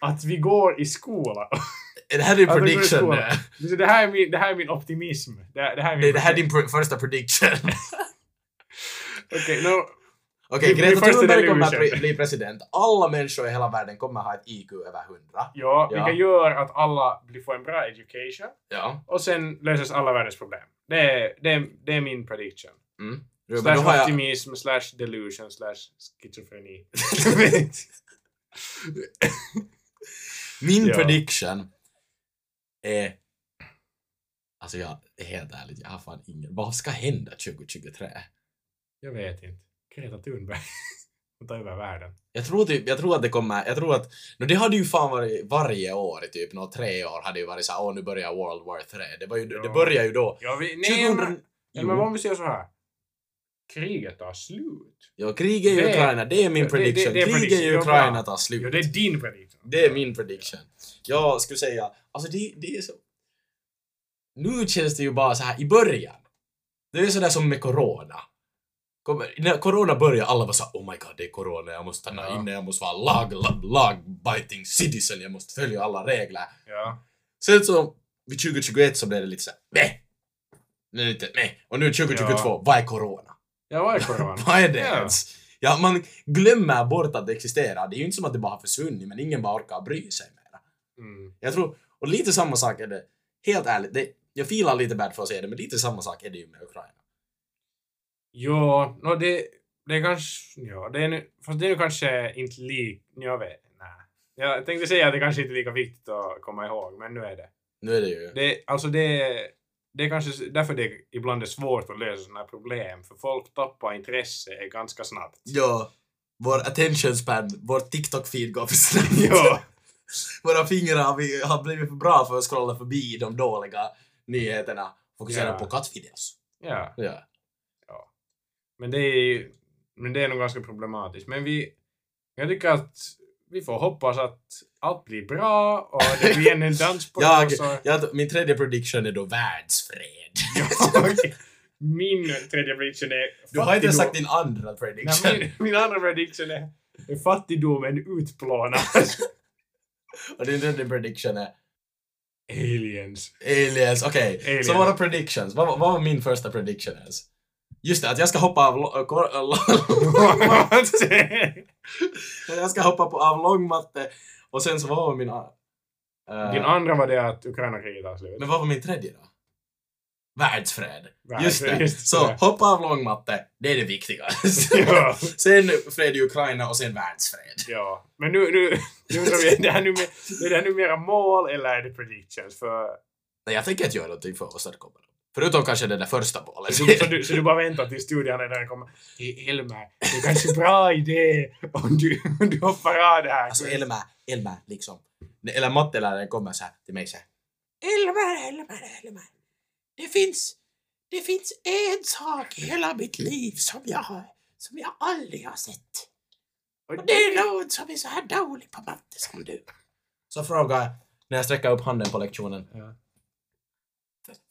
att vi går i skola. Är det här din Ja, det går i prediction? skolan. nu? Så Det här är min, det här är min optimism. Det, här- det här är min... Det är det här din pr- första prediction? Okej, no, Okej, Min- min Greta första Thunberg kommer att delusion. bli- bli president. Alla människor i hela världen kommer att ha ett IQ över 100. ja, Ja. vilket gör att alla blir- får en bra education Ja. och sen löses alla världens problem. Det är, det är, det är min prediction. Mm. Ruben, nu har Slash jag... optimism, slash delusion, slash schizofreni. Min Ja. prediction är... Alltså jag, helt ärligt, jag har fan ingen... Vad ska hända 2023? Jag vet inte. Greta Thunberg. Hon tar över världen. Jag tror, typ, jag tror att det kommer, jag tror att, no, det hade ju fan varit varje år i typ nå tre år hade ju varit såhär, åh nu börjar World War 3. Det, var ju, det Ja. började ju då. Ja, vi, nej, 2000, men, jo. men om vi säger så här. Kriget tar slut. Ja, kriget i Det- Ukraina, det är min det- det- prediction. det är kriget prediction. i Ja, Ukraina bra. tar slut. Jo, det är din prediction. Det är min prediction. Jag skulle säga, alltså det, det är så... Nu känns det ju bara så här i början. Det är sådär som med corona. Kommer, när corona började, alla var såhär oh my god det är corona, jag måste stanna Ja. inne, jag måste vara lag, lag, lag-biting citizen, jag måste följa alla regler. Ja. Sen så vid 2021 så blev det lite såhär meh. Nej, inte meh. Och nu 2022, Ja. vad är corona? Ja, vad är corona? Vad är det Ja. ens? Ja, man glömmer bort att det existerar. Det är ju inte som att det bara har försvunnit, men ingen bara orkar bry sig mer. Mm. Jag tror, och lite samma sak är det, helt ärligt, det, jag filar lite bad för att säga det, men lite samma sak är det ju med Ukraina. Jo, no, det, det är kanske... Ja, det är nu, fast det är nu kanske inte lika... Jag vet nej. Jag tänkte säga att det kanske inte är lika viktigt att komma ihåg, men nu är det. Nu är det ju... det alltså det, är- det är kanske därför det ibland är svårt att lösa sådana här problem, för folk tappar intresse ganska snabbt. Ja, vår attention span, vår TikTok-feed går för snabbt. Ja. Våra fingrar har, vi, har blivit för bra för att scrolla förbi de dåliga nyheterna. Fokusera Ja. på kattvideos. Ja. Ja. Men det är ju- men det är nog ganska problematiskt. Men vi, jag tycker att vi får hoppas att allt blir bra och det blir en dans på Jag, och så- jag, min tredje prediction är då världsfred. Jag- Min tredje prediction är Du har inte ens fattigdom- sagt din andra prediction. Nej, min, min andra prediction är, är fattigdomen utplånas. Och din tredje prediction är Aliens. aliens. Okej, Aliens. så våra predictions. Vad, vad var min första prediction ens? Just det, att jag ska hoppa av... lo- äh, kor- äh, lo- jag ska hoppa på, av långmatte. Och sen så vad var min... a- äh, Din andra var det att Ukraina-kriget tar slut. men vad var min tredje då? Världsfred. Just det. Just så hoppa av långmatte, det är det viktigaste. Ja. sen fred i Ukraina och sen världsfred. Ja, men nu, nu, nu undrar vi, är det här numera, är det här numera mål eller är det predictions? För, Nej, jag tänker inte göra någonting för att åstadkomma det. Förutom kanske det där första målet. så, så, du, så du bara väntar tills studion är där och kommer Hej Elmer, det är kanske en bra idé om du, om du hoppar av det här. Alltså Elma, Elma liksom. Eller matteläraren kommer så här till mig så här. Elma, Elma, Elma. Det finns, det finns en sak i hela mitt liv som jag har, som jag aldrig har sett. Och det är någon som är så här dålig på matte som du. Så frågar jag, när jag sträcker upp handen på lektionen. Ja.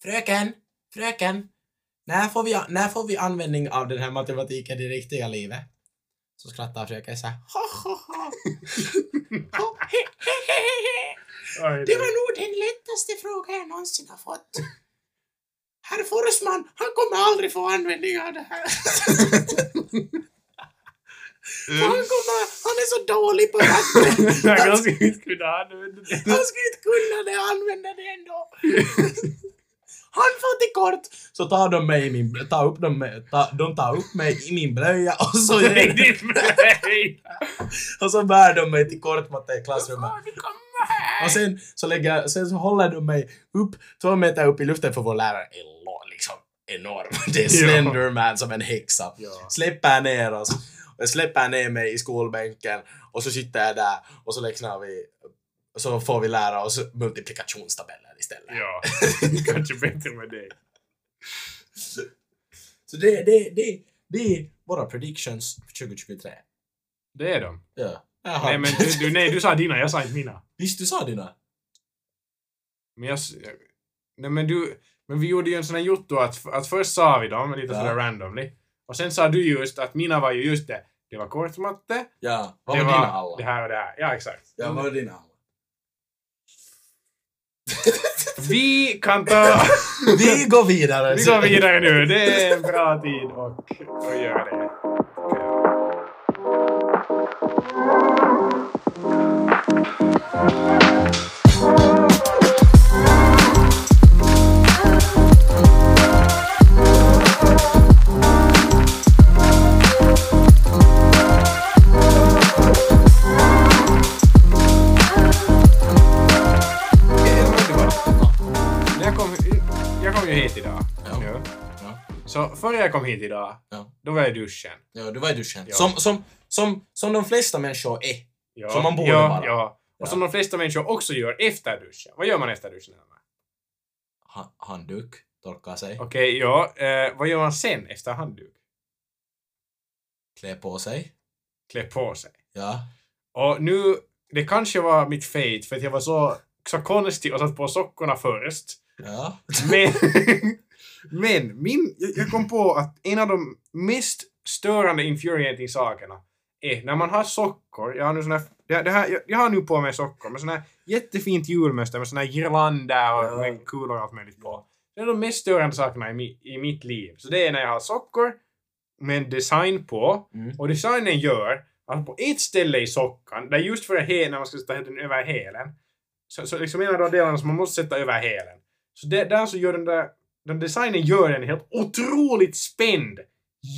Fröken, fröken. När får, vi, när får vi användning av den här matematiken i riktiga livet? Så skrattar fröken så här. "Ha, ha, ha." "Ha, he, he, he, he, he." Oj, Det var nog den lättaste fråga jag någonsin har fått. Herr Forsman, han kommer aldrig få användning av det här. Han, kommer, han är så dålig på matte. det här Alltså- kanske vi inte kunde ha nu. Han skulle inte kunna det och använda det ändå. Han får till kort. Så tar de mig i min, tar upp dem, med- ta, de tar upp mig i min blöja och så, Nej, det är mig. och så bär de mig till kortmatte i klassrummet. Åh, du kommer här. Och sen så, lägger, jag- sen så håller de mig upp, två meter upp i luften för vår lärare är lo- liksom enorm. Det är Ja. Slenderman som en häxa. Ja. Släpper ner oss. Och släpper ner mig i skolbänken och så sitter jag där och så räknar vi så får vi lära oss multiplikationstabeller istället. Ja, kanske bättre med det. Så det, det, det, det är våra predictions för 2023. Det är de. Ja. Jaha. Nej, men du, du, nej, du sa dina, jag sa inte mina. Visst, du sa dina? Men jag... s- jag- Nej, men du... Men vi gjorde ju en sån här jotto att, att först sa vi dem lite Ja. sådär randomly. Och sen sa du just att mina var ju just det. Det var kortmatte. Ja. Vad det var var dina alla? Det här och det här. Ja, exakt. Ja, vad var dina alla? Vi kan ta... Vi går vidare! Vi går vidare nu. Det är en bra tid och, och gör det. När jag kom, jag kom ju hit idag. Ja. Nu. Ja. Så före jag kom hit idag, Ja. då var jag i duschen. Ja, du var i duschen. Ja. Som, som, som, som de flesta människor är. Ja, Som man borde ja, vara. Ja. Och som de flesta människor också gör efter duschen. Vad gör man efter duschen? Emma? Ha, handduk, torka sig, Okej, ja. Eh, vad gör man sen efter handduk? klä på sig. Klä på sig. Ja. Och nu, det kanske var mitt fate för att jag var så, så konstig och satt på sockorna först. Ja. Men, men min, jag- jag kom på att en av de mest störande infuriating sakerna är när man har sockor, jag har nu såna här, det, det här, jag, jag har nu på mig sockor med såna här jättefint julmönster med såna här girlander och Ja. med kulor och allt möjligt på. Det är de mest störande sakerna i, mi, i mitt liv. Så det är när jag har sockor med en design på Mm. och designen gör att på ett ställe i sockan, där just för he- när man ska sätta den över hälen, så, så liksom en av de delarna som man måste sätta över hälen. Så det, där så gör den där, den designen gör den helt otroligt spänd.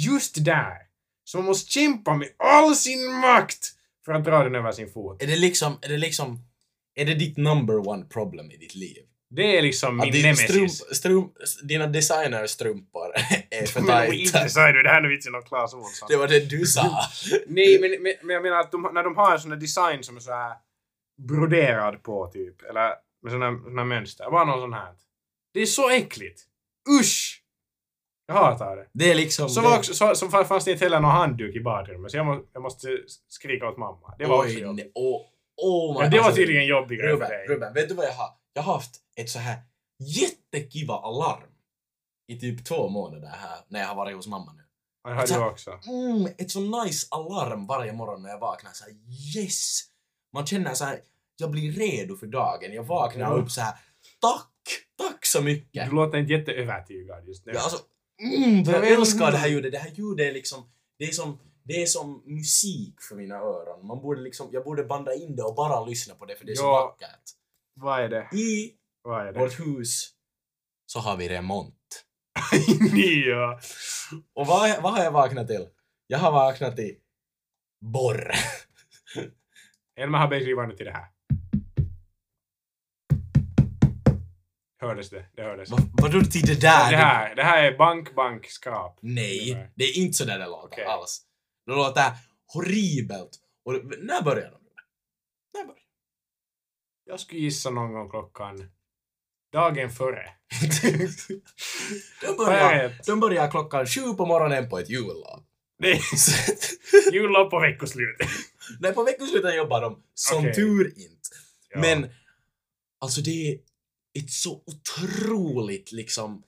Just där. Så man måste kämpa med all sin makt för att dra den över sin fot. Är det liksom, är det liksom, är det ditt number one problem i ditt liv? Det är liksom min Att din strump, nemesis. strump, dina designerstrumpor är för Men det var inte tajta. så, det här är vitsen av Clas Ohlson. Det var det du sa. Nej, men, men, men jag menar att de, när de har en sån där design som är så här broderad på typ, eller med såna, såna mönster, bara någon sån här. Det är så äckligt! Usch! Jag hatar det. Det är liksom... Så, det- var också, så, så fa- fanns det inte heller någon handduk i badrummet, så jag, må, jag måste skrika åt mamma. Det var också Oj, jobbigt. nej, åh, åh my- Men det var alltså, tydligen jobbigare för Ruben, dig. Ruben, vet du vad jag har? Jag har haft ett så här jättekiva alarm i typ två månader här när jag har varit hos mamma nu. Ja, Det har du också. Mm, ett så nice alarm varje morgon när jag vaknar. Så här, yes! Man känner så här, jag blir redo för dagen. Jag vaknar Ja. upp så här, tack! Tack så mycket! Du låter inte jätteövertygad just nu. Ja, alltså, mm, Jag jag vet- älskar det här ljudet. Det här ljudet är liksom, det är som, det är som musik för mina öron. Man borde liksom, jag borde banda in det och bara lyssna på det för det är så Ja. vackert. Vad är det? I Vad är det? vårt hus så har vi remont. ja. Och vad, vad har jag vaknat till? Jag har vaknat till borr. Elma har basically varit till det här. Hördes det? Det hördes. Va- Vadå till det där? Det här, det här är bank, bank, skrap. Nej, det är inte så där det låter Okej. alls. Det låter horribelt. Och när börjar de? När börjar Jag skulle gissa någon gång klockan... Dagen före. de? Vad är Börjar, det? de börjar klockan sju på morgonen på ett jullov. Det är jullov på veckoslutet. Nej, på veckosluten jobbar de som Okej. tur inte. Ja. Men alltså det är ett så otroligt liksom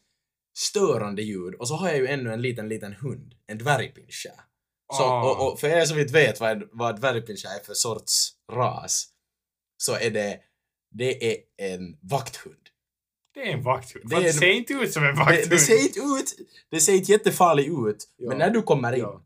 störande ljud. Och så har jag ju ännu en liten, liten hund. En dvärgpinscher. Så, Ah. och, och för er som inte vet vad, vad dvärgpinscher är för sorts ras så är det, det är en vakthund. Det är en vakthund. Det Fast är Det, en- ser inte ut som en vakthund. Det, det ser inte ut, det ser inte jättefarligt ut, Ja. men när du kommer in, Ja.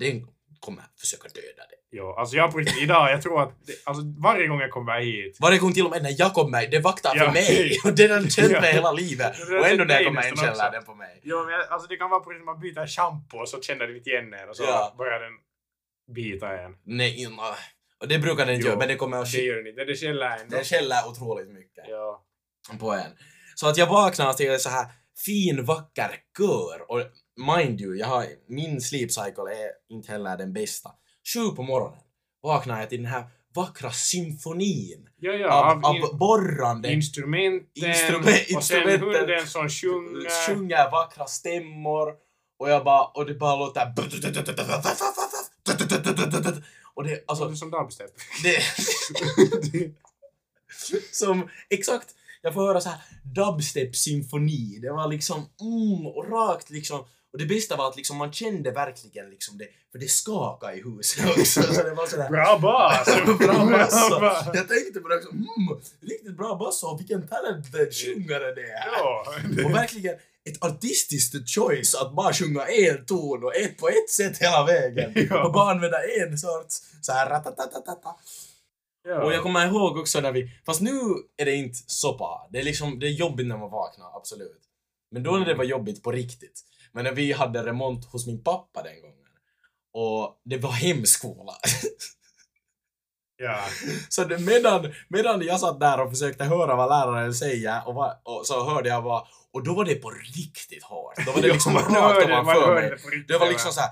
den kommer försöka döda dig. Ja, alltså jag på riktigt, idag, jag tror att... Det, alltså varje gång jag kommer hit... Varje gång till och med när jag kommer, det vaktar för Ja. mig. Och den har känt mig Ja. hela livet. Den har Och ändå känt när jag mig kommer in nästan skäller också. den på mig. Jo, men jag- alltså det kan vara på riktigt, man byter shampoo och så känner den inte igen en och så Ja. börjar den bita en. Nej, in- ah. och det brukar den inte Jo, göra, men det kommer att Det gör den inte, det skäller ändå. Den skäller otroligt mycket Ja. på en. Så att jag vaknar till en så här fin, vacker kör. Och mind you, jag har, min sleep cycle är inte heller den bästa. Sju på morgonen vaknar jag till den här vackra symfonin Ja, ja, av, av in, av borrande instrumenten, Instrument- och sen instrumenten. hunden som sjunger. sjunger vackra stämmor och jag bara, och det bara låter och det, alltså, Låter som dubstep. det som, exakt, jag får höra så här dubstep-symfoni, det var liksom, mm, och rakt liksom, och det bästa var att liksom man kände verkligen liksom det, för det skakade i huset också, så det var sådär Bra bas! Bra bas. alltså. bas. Jag tänkte på det också, mm, riktigt bra bass och vilken talent den sjungare det är. Ja. Och verkligen ett artistiskt choice att bara sjunga en ton och ett på ett sätt hela vägen. Ja. Och bara använda en sorts så här ratatatatata. ja. Och jag kommer ihåg också när vi, fast nu är det inte så bra. Det är liksom, det är jobbigt när man vaknar, absolut. Men då när Mm. det var jobbigt på riktigt. Men när vi hade remont hos min pappa den gången. Och det var hemskola. ja. Så det, medan, medan jag satt där och försökte höra vad läraren säger och, va, och så hörde jag bara, och då var det på riktigt hårt. Då var det liksom man rakt hörde, man ovanför hörde mig. det på riktigt. Det var liksom såhär...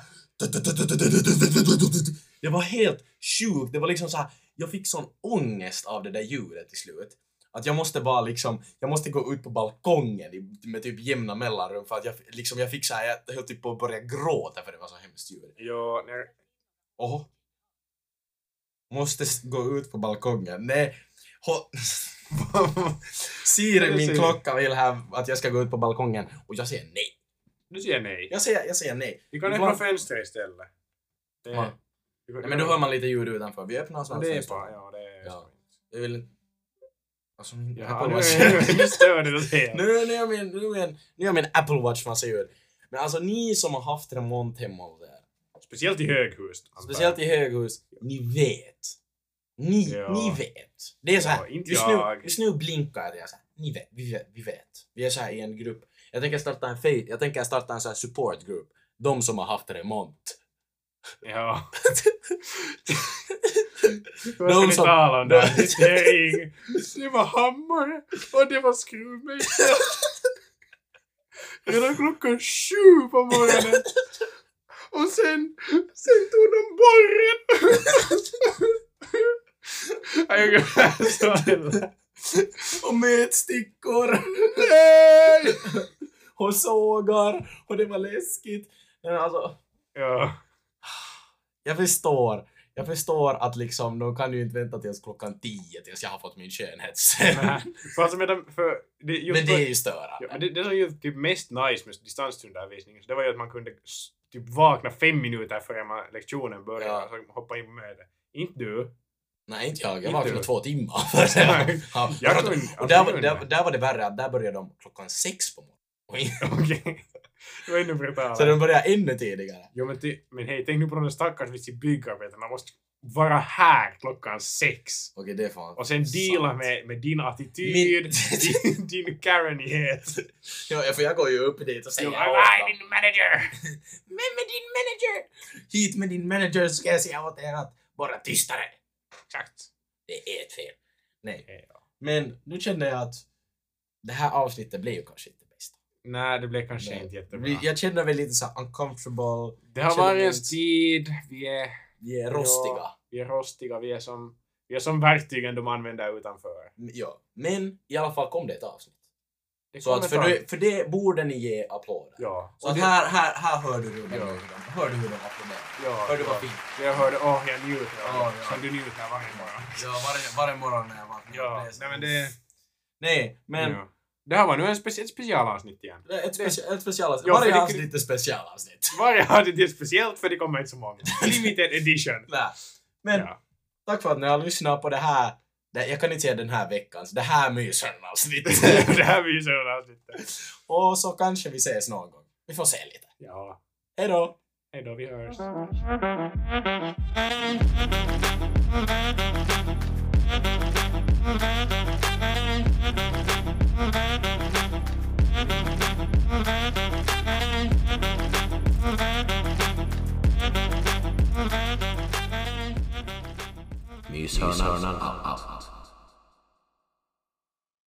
Det var helt sjukt. Det var liksom såhär, jag fick sån ångest av det där ljudet till slut. Att jag måste bara liksom, jag måste gå ut på balkongen i- med typ jämna mellanrum för att jag liksom, jag fick såhär, jag höll typ på att börja gråta för det var så hemskt ljud. Ja, nej, Oho. Måste s- gå ut på balkongen. Nej. Ho- Siri, min klocka, vill här att jag ska gå ut på balkongen och jag säger nej. du säger nej. Jag säger, jag säger nej. Vi kan öppna Ibland- fönster istället. Det, Va? Vi kan- nej. Men då hör man lite ljud utanför. Vi öppnar Ja, snart det är fönstret. bra. Ja, det är Ja. så. Jag vill inte... Alltså min Ja, Apple nu Watch... är- nu stör du det. nu, nu, är min, nu, är min, nu är min Apple Watch massa ljud. Men alltså ni som har haft remont hemma och där, Speciellt i höghus. antar jag. speciellt i höghus, ni vet. Ni, Ja. ni vet. Det är så här, Ja, inte just, nu, jag. just nu blinkar jag till er så här. Ni vet, vi vet, vi vet. Vi är så här i en grupp. Jag tänker starta en, fe- jag tänker starta en så här supportgrupp. De som har haft remont. Ja. De Vad ska ni som- tala om de- då? Det är ing- Det var hammare och det var skruvmejsel. Redan klockan sju på morgonen. Och sen, sen tog de borren. Ja, Ungefär så. det lät. Och metstickor! Nej! Och sågar! Och det var läskigt. Men alltså... Ja. Jag förstår. Jag förstår att liksom, de kan ju inte vänta tills klockan 10 tills jag har fått min skönhetscell. Nej. För alltså medan, för... Det, just Men det är ju störande. Ja, men det, det som gjorde typ mest nice med distanstundervisningen, så det var ju att man kunde s- typ vakna fem minuter före man, lektionen började Ja. och så hoppa in på möte. Inte du. Nej, inte jag. Jag Inte vaknade du. två timmar. Nej. ja, Jag och- kunde- alltså, och där, jag var- kunde. där, där var det värre att där började de klockan sex på morgonen. Oj. Okej. Det var ännu brutalare. Så de började ännu tidigare. Jo men, ty, men hej, tänk nu på de där stackars vits i byggarbeten. Man måste vara här klockan sex. Okej, det är fan Och sen deala med, med din attityd, Min- din, din Karenighet. Ja, för jag går ju upp dit och säger Jo, åt "Alright, dem. din manager! Men med din manager! Hit med din manager så ska jag säga åt er att vara tystare. Exakt. Det är ett fel. Nej. Ja. Men nu känner jag att det här avsnittet blev ju kanske inte bäst. Nej, det blev kanske Nej. inte jättebra. Vi- Jag känner väl lite så här uncomfortable, det har känner varit en inte- tid, vi är vi är Ja. rostiga. Vi är rostiga, vi är som, vi är som verktygen de använder utanför. M- Ja. Men i alla fall kom det ett avsnitt. Det Så att för, kommer ta- det, för det borde ni ge applåder. Ja. Så Och att det- här, här, här hör du hur de, Ja. hör du hur de applåderar. Ja, Hör du ja. vad fint? Jag hörde, åh, jag njuter. Ja, ja. Som du njuter varje morgon. Ja, varje, varje morgon när jag vaknar. Ja, Det är så- nej men det... Nej, men... ja. Det här var nu en speci- ett specialavsnitt igen. det är Ett, speci- ett specialavsnitt. Ja, för Varje det- avsnitt är specialavsnitt. Varje avsnitt är speciellt för det kommer inte så många. Limited edition. Nej. Men Ja. tack för att ni har lyssnat på det här. Det, jag kan inte säga den här veckans. Det här mysarnavsnittet. det här blir ju sådana avsnitt. Och så kanske vi ses någon gång. Vi får se lite. Ja. Hej då! Hej då, vi hörs. Myshörnan out.